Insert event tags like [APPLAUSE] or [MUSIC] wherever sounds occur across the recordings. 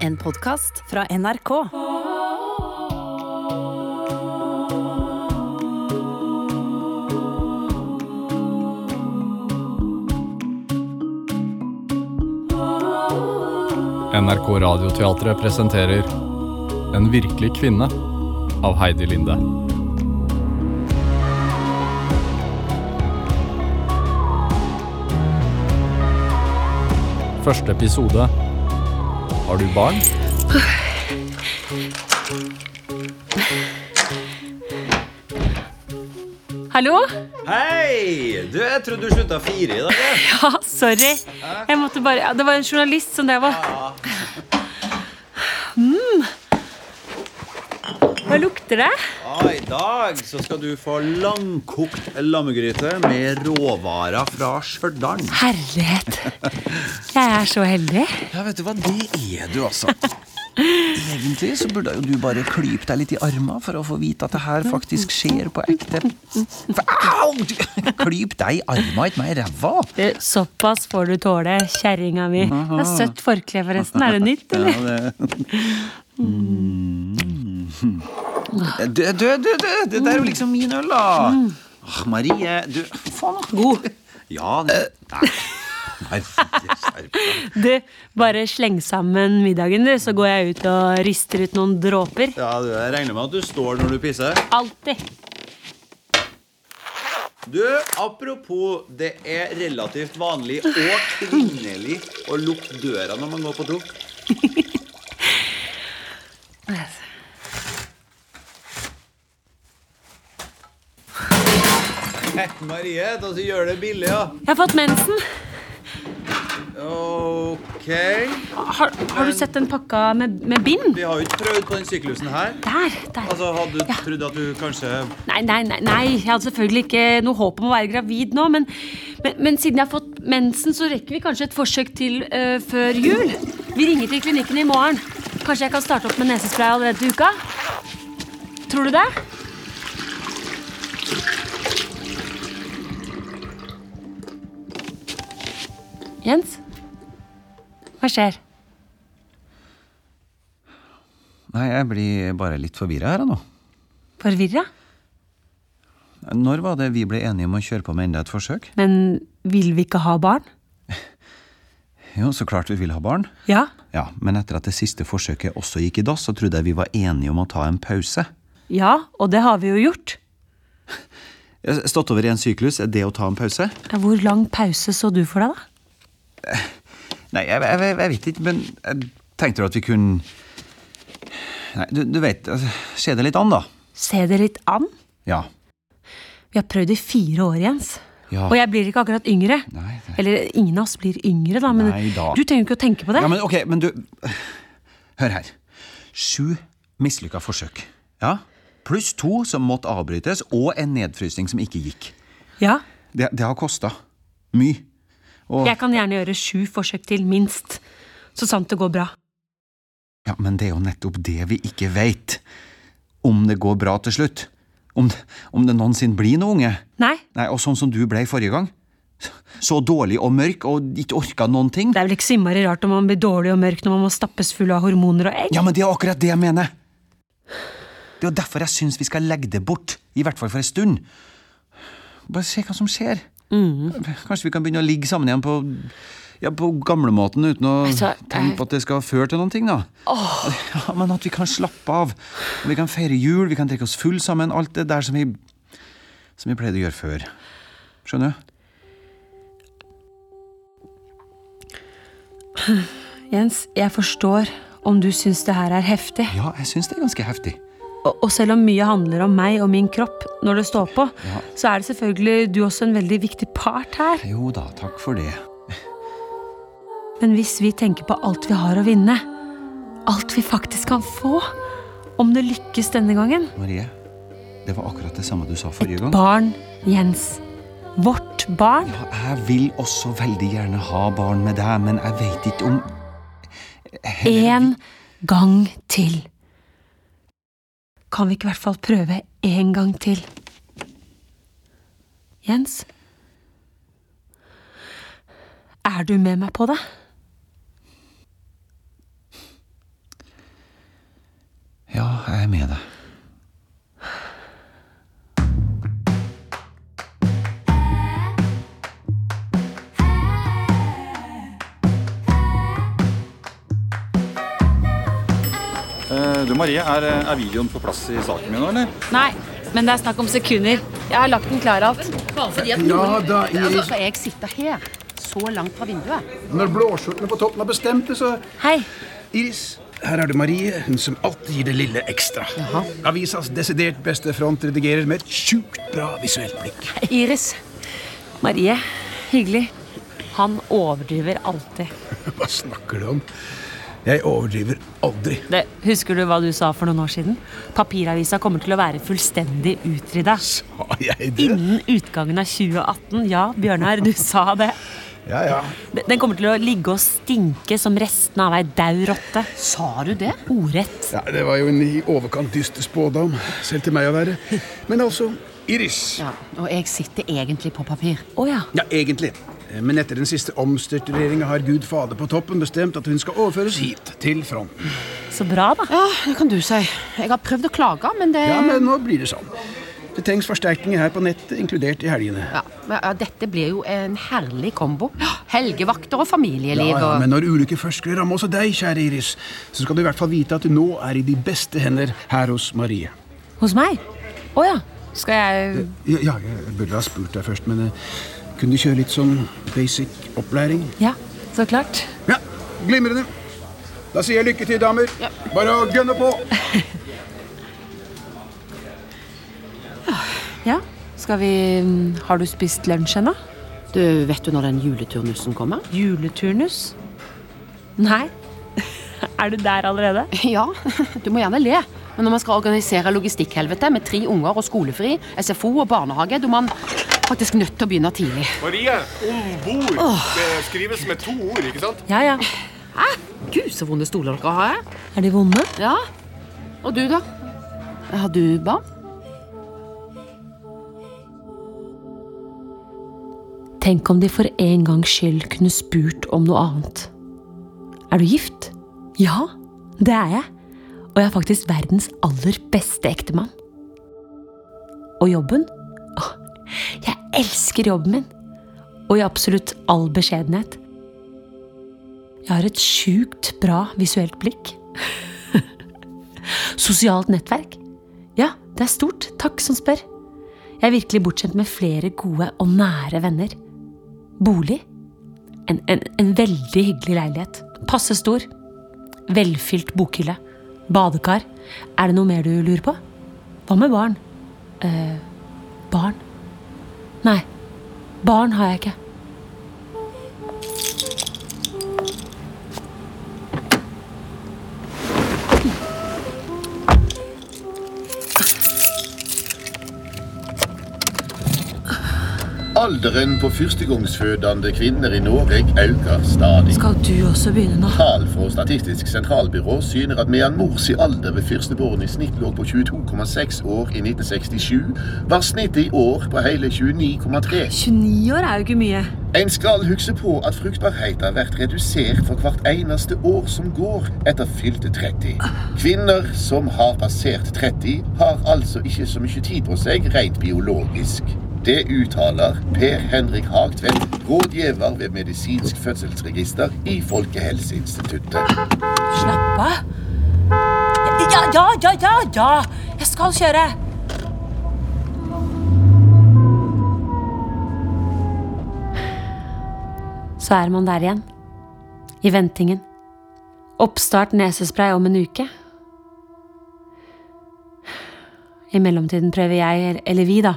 En podkast fra NRK. NRK Radioteatret presenterer En virkelig kvinne av Heidi Linde. Første episode Har du barn? Hallo? Hei! Du, jeg trodde du slutta fire i dag. jeg. Ja, sorry. Jeg måtte bare ja, Det var en journalist som det var. Mm. Hva lukter det? Ja, I dag så skal du få langkokt lammegryte med råvarer fra Stjørdal. Herlighet. Jeg er så heldig. Ja, vet du hva, det er du, altså. Egentlig så burde jo du bare klype deg litt i armen for å få vite at det her faktisk skjer på ekte. Au! Du- Klyp deg i armen, ikke meg i ræva! Du, Såpass får du tåle, kjerringa mi. Det er søtt forkle, forresten. Er det nytt, [LAUGHS] eller? Mm. Du, du, du, du, det der er jo liksom min øl, da! Åh, Marie, du Faen, da. God. Ja, nei. Nei, skjerp deg. Du, bare sleng sammen middagen, du, så går jeg ut og rister ut noen dråper. ja du, jeg regner med at du står når du pisser. Alltid. Du, Apropos, det er relativt vanlig og kvinnelig å lukke døra når man går [LAUGHS] på do. Eh, Hei, Marie, da så gjør det billig, ja. Jeg har fått mensen. Ok Har, har du sett den pakka med, med bind? Vi har jo ikke prøvd på den syklusen her. Der. der. Altså, Hadde du trodd at du kanskje Nei, nei, nei, nei. Jeg hadde selvfølgelig ikke noe håp om å være gravid nå, men, men, men siden jeg har fått mensen, så rekker vi kanskje et forsøk til eh, før jul. Vi ringer til klinikken i morgen. Kanskje jeg kan starte opp med nesespray allerede til uka? Tror du det? Jens? Hva skjer? Nei, jeg blir bare litt forvirra her nå. Forvirra? Når var det vi ble enige om å kjøre på med enda et forsøk? Men vil vi ikke ha barn? Jo, så klart vi vil ha barn. Ja. Ja, Men etter at det siste forsøket også gikk i dass, så trodde jeg vi var enige om å ta en pause. Ja, og det har vi jo gjort. Stått over i en syklus, er det å ta en pause? Ja, Hvor lang pause så du for deg, da? Nei, jeg, jeg, jeg vet ikke, men jeg tenkte jo at vi kunne Nei, du, du vet, altså, se det litt an, da. Se det litt an. Ja. Vi har prøvd i fire år, Jens. Ja. Og jeg blir ikke akkurat yngre. Nei, det- Eller ingen av oss blir yngre, da, men Nei da. du trenger ikke å tenke på det. ja, men ok, men du Hør her. Sju mislykka forsøk. Ja? Pluss to som måtte avbrytes, og en nedfrysning som ikke gikk. Ja, Det, det har kosta. Mye. Og Jeg kan gjerne gjøre sju forsøk til, minst. Så sant det går bra. Ja, men det er jo nettopp det vi ikke veit. Om det går bra til slutt. Om, det- om det noensinne blir noe unge. Nei, Nei, og sånn som du ble forrige gang. Så dårlig og mørk og ikke orka noen ting. det er vel ikke så innmari rart om man blir dårlig og mørk når man må stappes full av hormoner og egg. Ja, men det er akkurat det jeg mener. Det er jo derfor jeg syns vi skal legge det bort. I hvert fall for en stund. Bare se hva som skjer. Kanskje vi kan begynne å ligge sammen igjen på, ja, på gamlemåten uten å Altså, det er- tenke på at det skal føre til noen ting, da. Ja, men at vi kan slappe av. Vi kan feire jul, vi kan drikke oss full sammen. Alt det der som vi, som vi pleide å gjøre før. Skjønner du? Jens, jeg forstår om du syns det her er heftig. Ja, jeg syns det er ganske heftig. Og, og selv om mye handler om meg og min kropp når det står på, så er det selvfølgelig du også en veldig viktig part her. Jo da, takk for det. Men hvis vi tenker på alt vi har å vinne, alt vi faktisk kan få, om det lykkes denne gangen Marie, det var akkurat det samme du sa forrige gang. Barn, Jens. Vårt barn. Ja, jeg vil også veldig gjerne ha barn med deg, men jeg veit ikke om Én gang til. Kan vi ikke i hvert fall prøve én gang til? Jens? Er du med meg på det? Jeg er med deg. Eh, Du Marie, er, er videoen på plass i saken min nå, eller? Nei, men det er snakk om sekunder. Jeg har lagt den klar alt. Ja da, Iris. Skal jeg sitte her, så langt fra vinduet? Når blåskjortene på toppen har bestemt det, så Hei. Iris, her har du Marie, hun som alltid gir det lille ekstra. Avisas desidert beste front redigerer med et sjukt bra visuelt blikk. [LAUGHS] Iris. Marie. Hyggelig. Han overdriver alltid. Hva snakker du om? Jeg overdriver aldri. [LAUGHS] Det, husker du hva du sa for noen år siden? Papiravisa kommer til å være fullstendig utrydda. Har jeg det? Innen utgangen av 2018. Ja, Bjørnar, du sa det. Ja, ja. Den den kommer til å ligge og stinke som restene av ei dau rotte. Sa du det? Ordrett. ja. Det var jo en i overkant dyster spådom, selv til meg å [LAUGHS] være. Men altså, Iris. Ja, og jeg sitter egentlig på papir. Å ja. Ja, egentlig. Eh, Men etter den siste omstyrtregjeringa har Gud Fader på toppen bestemt at hun skal overføres hit, til fronten. Så bra, da. Ja, det kan du si. Jeg har prøvd å klage, men det Ja, men nå blir det sånn. Det trengs forsterkninger her på nettet, inkludert i helgene. Ja, men, ja, dette blir jo en herlig kombo. Helgevakter og Ja, familieliv ja, og men når ulykker først skulle ramme også deg, kjære Iris, så skal du i hvert fall vite at du nå er i de beste hender her hos Marie. Hos meg? Å ja. Skal jeg Ja, ja, jeg burde ha spurt deg først, men eh, kunne du kjøre litt sånn basic opplæring? Ja, så klart. Ja, glimrende. Da sier jeg lykke til, damer. Bare å gønne på. Ja. Skal vi mm, Har du spist lunsj ennå? Du, vet du når den juleturnussen kommer? Juleturnus? [LAUGHS] Nei. Er du der allerede? [LAUGHS] Ja, [LAUGHS] du må gjerne le. Men når man skal organisere logistikkhelvete med tre unger og skolefri, SFO og barnehage, da er man faktisk nødt til å begynne tidlig. Marie, ombord. Det skrives med to ord, ikke sant? Ja, ja. Hæ? Gud, så vonde stoler dere har. hæ? Er de vonde? Ja. Og du, da? Har du barn? Tenk om de for en gangs skyld kunne spurt om noe annet. Er du gift? Ja, det er jeg. Og jeg er faktisk verdens aller beste ektemann. Og jobben? Åh, jeg elsker jobben min. Og i absolutt all beskjedenhet. Jeg har et sjukt bra visuelt blikk. [LAUGHS] Sosialt nettverk? Ja, det er stort. Takk som spør. Jeg er virkelig bortskjemt med flere gode og nære venner. Bolig. En, en, en veldig hyggelig leilighet. Passe stor. Velfylt bokhylle. Badekar. Er det noe mer du lurer på? Hva med barn? Eh, barn? Nei, barn har jeg ikke. Alderen på førstegangsfødende kvinner i Norge øker stadig. Skal du også begynne nå? Tall fra Statistisk sentralbyrå syner at medan mors i alder ved førstebåren i snitt lå på 22,6 år i 1967, var snittet i år på hele 29,3. 29 år er jo ikke mye. En skal huske på at fruktbarheten blir redusert for hvert eneste år som går etter fylte 30. Kvinner som har passert 30, har altså ikke så mye tid på seg rent biologisk. Det uttaler Per Henrik Hagtvedt, rådgiver ved Medisinsk fødselsregister i Folkehelseinstituttet. Slapp av. Ja, ja, ja, ja, ja! Jeg skal kjøre. Så er man der igjen. I ventingen. Oppstart nesespray om en uke. I mellomtiden prøver jeg, eller vi da,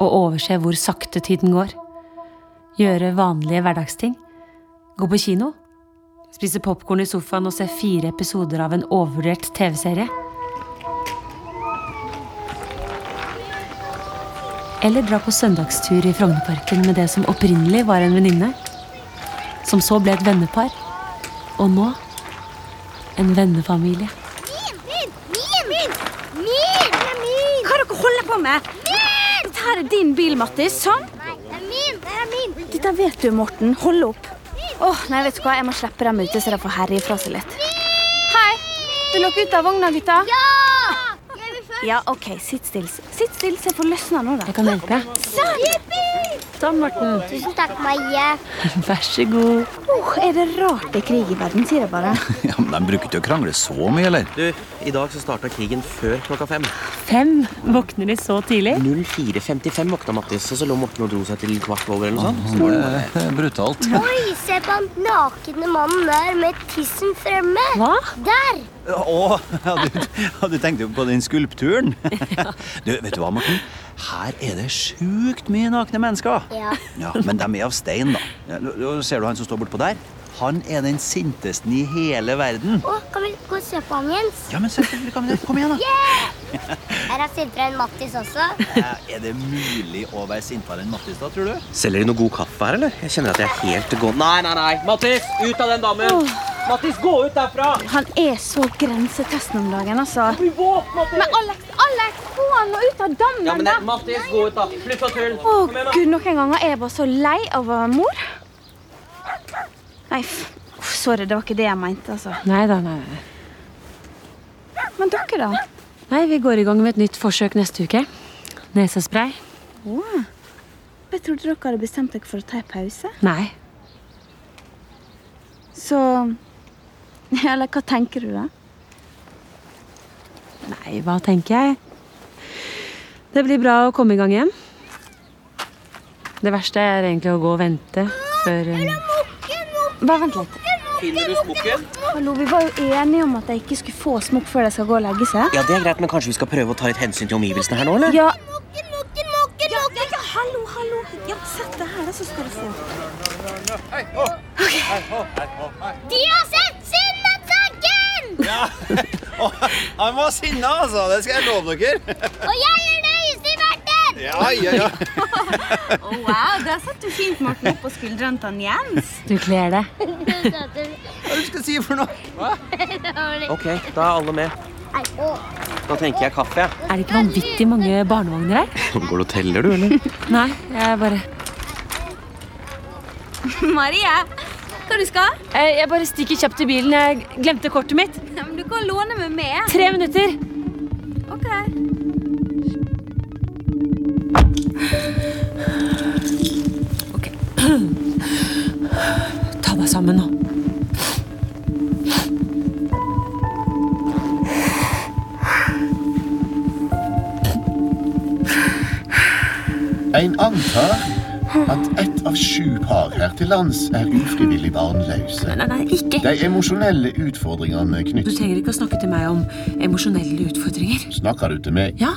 å overse hvor sakte tiden går. Gjøre vanlige hverdagsting. Gå på kino spise popkorn i sofaen og se fire episoder av en overvurdert TV-serie. Eller dra på søndagstur i Frognerparken med det som opprinnelig var en venninne. Som så ble et vennepar. Og nå en vennefamilie. Min! Min! Min! Min! Det er min! Hva er dere holder på med? Min! Dette her er din bil, Mattis. Sånn. Nei, det er min! Det er min! Dette vet du, Morten. Hold opp. Åh, nei, vet du hva? Jeg må slippe dem ute, så de får herje fra seg litt. Hei! Vil dere ut av vogna, gutta? Ja! Ja, OK, sitt still. Sitt still, så jeg får løsna nå, da. Jeg kan hjelpe deg. Sånn! Sånn, Morten. Tusen takk, Marie. Vær så god. Oh, er det rart det er krig i verden, sier jeg bare. Ja, men De bruker ikke å krangle så mye, eller? Du, I dag så starta krigen før klokka fem. Fem? Våkner de så tidlig? 04.55 våkna Mattis, og så lå Morten og dro seg til kvart over. eller noe sånt. Det er brutalt. Oi, se på han nakne mannen der med tissen fremme. Hva? Der! Å, ja, du, ja, du tenkte jo på den [LAUGHS] skulpturen. Du, vet du hva, Morten? Her er det sjukt mye nakne mennesker. Ja. Ja, Men de er av stein, da. Ja, nå- nå Ser du han som står bortpå der? Han er den sintesten i hele verden. Å, kan vi gå og se på han, Jens? Ja, men selvfølgelig kan vi det. Kom igjen, da. Yeah! Her har sendt fra en Mattis også. Er det mulig å være sintere enn Mattis, da, tror du? Selger de noe god kaffe her, eller? Jeg kjenner at jeg er helt gå... Nei, nei, nei! Mattis, ut av den damen! Mattis, gå ut derfra! Han er så grensetesten om dagen, altså. Men Alex, Alex, få han nå ut av Ja, dammen, men da! det, Mattis, gå ut, da! Slutt å tulle! Å, gud, noen ganger er jeg bare så lei av å være mor. Nei, f- uff, sorry, det var ikke det jeg mente, altså. Nei da, nei. nei. Men dere, da? Nei, vi går i gang med et nytt forsøk neste uke. Nesespray. Åh. Jeg trodde dere hadde bestemt dere for å ta en pause. Nei. Så [LAUGHS] Eller hva tenker du, da? Nei, hva tenker jeg? Det blir bra å komme i gang igjen. Det verste er egentlig å gå og vente før eh, Bare vent litt. Finner du smokken? Hallo, Vi var jo enige om at jeg ikke skulle få smokk før de skal gå og legge seg. Ja, det er greit, men kanskje vi skal prøve å ta litt hensyn til omgivelsene her nå, eller? Ja. Ja, ja, ja, hallo, hallo. Ja, sett deg her, da, så skal du få. De har sett Sinnasaken! Han var sinna, altså! Det skal jeg love dere. Og jeg er nøyest i verden! Ja, ja, ja. wow, der satte du fint Morten opp på skuldrene til han [LAUGHS] Jens. du kler det. Hva du skal si for noe? Ok, da er alle med. Da tenker jeg kaffe. [LAUGHS] jeg. Er det ikke vanvittig mange barnevogner her? Går du og teller, du, eller? Nei, jeg bare Marie, hva du skal Eh, Jeg bare stikker kjapt i bilen. Jeg glemte kortet mitt. Ja, men Du kan låne meg med. Tre minutter. Ok. Ta deg sammen nå. En antar at ett av sju par her til lands er ufrivillig barnløse. Nei, nei, ikke. De emosjonelle utfordringene Du knyttet trenger ikke å snakke til meg om emosjonelle utfordringer. Snakker du til meg? Ja.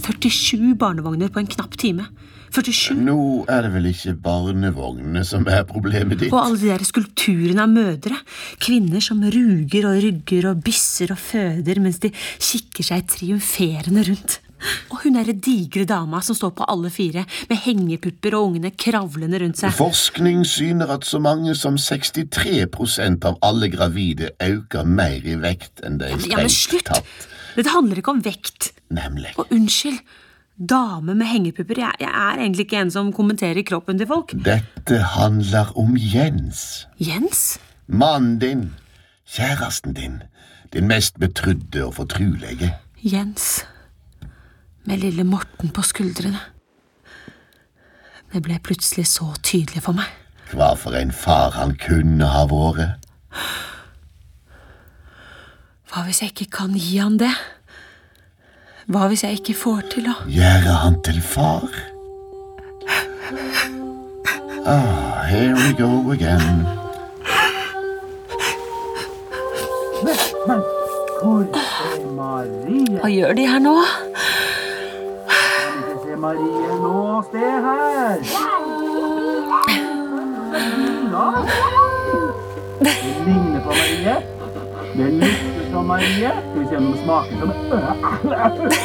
47 barnevogner på en knapp time. 47. Nå er det vel ikke barnevognene som er problemet ditt? Og alle de der skulpturene av mødre. Kvinner som ruger og rygger og bysser og føder mens de kikker seg triumferende rundt. Og hun derre digre dama som står på alle fire med hengepupper og ungene kravlende rundt seg. Forskning syner at så mange som 63 av alle gravide øker mer i vekt enn de Ja, men strengt slutt! tatt. Dette handler ikke om vekt. Nemlig. Og unnskyld, dame med hengepupper. Jeg, jeg er egentlig ikke en som kommenterer kroppen til folk. Dette handler om Jens. Jens? Mannen din. Kjæresten din. Din mest betrudde og fortrulige. Jens. Med lille Morten på skuldrene. Det ble plutselig så tydelig for meg. Hva for en far han kunne ha vært. Hva hvis jeg ikke kan gi han det? Hva hvis jeg ikke får til å Gjøre han til far. Ah, here we go again. Hva gjør de her nå? Marie, nå se her! Det ligner på Marie. Det lukter som Marie. Skal vi se om det smaker som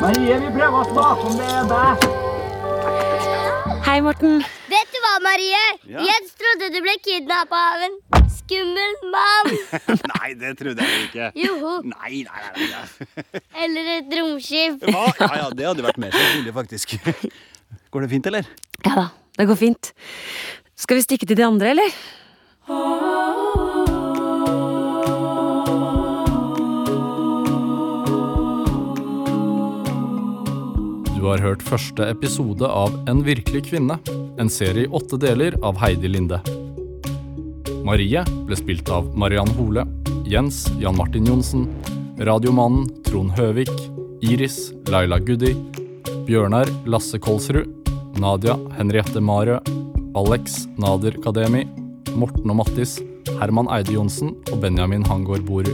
Marie, vi prøver å smake om det er bæsj. Hei, Morten. Vet du hva, Marie? Ja. Jens trodde du ble kidnappa av en skummel [LAUGHS] mann. [LAUGHS] Nei, det trodde jeg jo ikke. Joho. Nei, nei, nei, nei. Eller et um romskip. Hva? Ja, ja, det hadde vært mer sannsynlig, faktisk. [LAUGHS] Går det fint, eller? Ja da, det går fint. Skal vi stikke til de andre, eller? Du har hørt første episode av En virkelig kvinne, en serie i åtte deler av Heidi Linde. Marie ble spilt av Mariann Hole, Jens Jan Martin Johnsen, Radiomannen Trond Høvik, Iris Laila Guddi, Bjørnar Lasse Kolsrud, Nadia Henriette Marø, Alex Nader Kademi, Morten og Mattis, Herman Eide Johnsen og Benjamin Hangård Borud.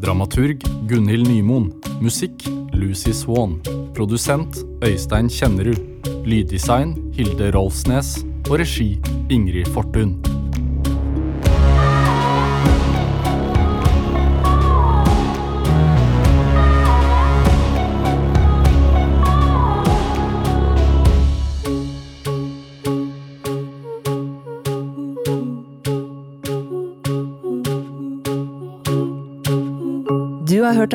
Dramaturg Gunhild Nymoen. Musikk Lucy Swan. Produsent Øystein Kjennerud. Lyddesign Hilde Rolfsnes. Og regi Ingrid Fortun. Du har hørt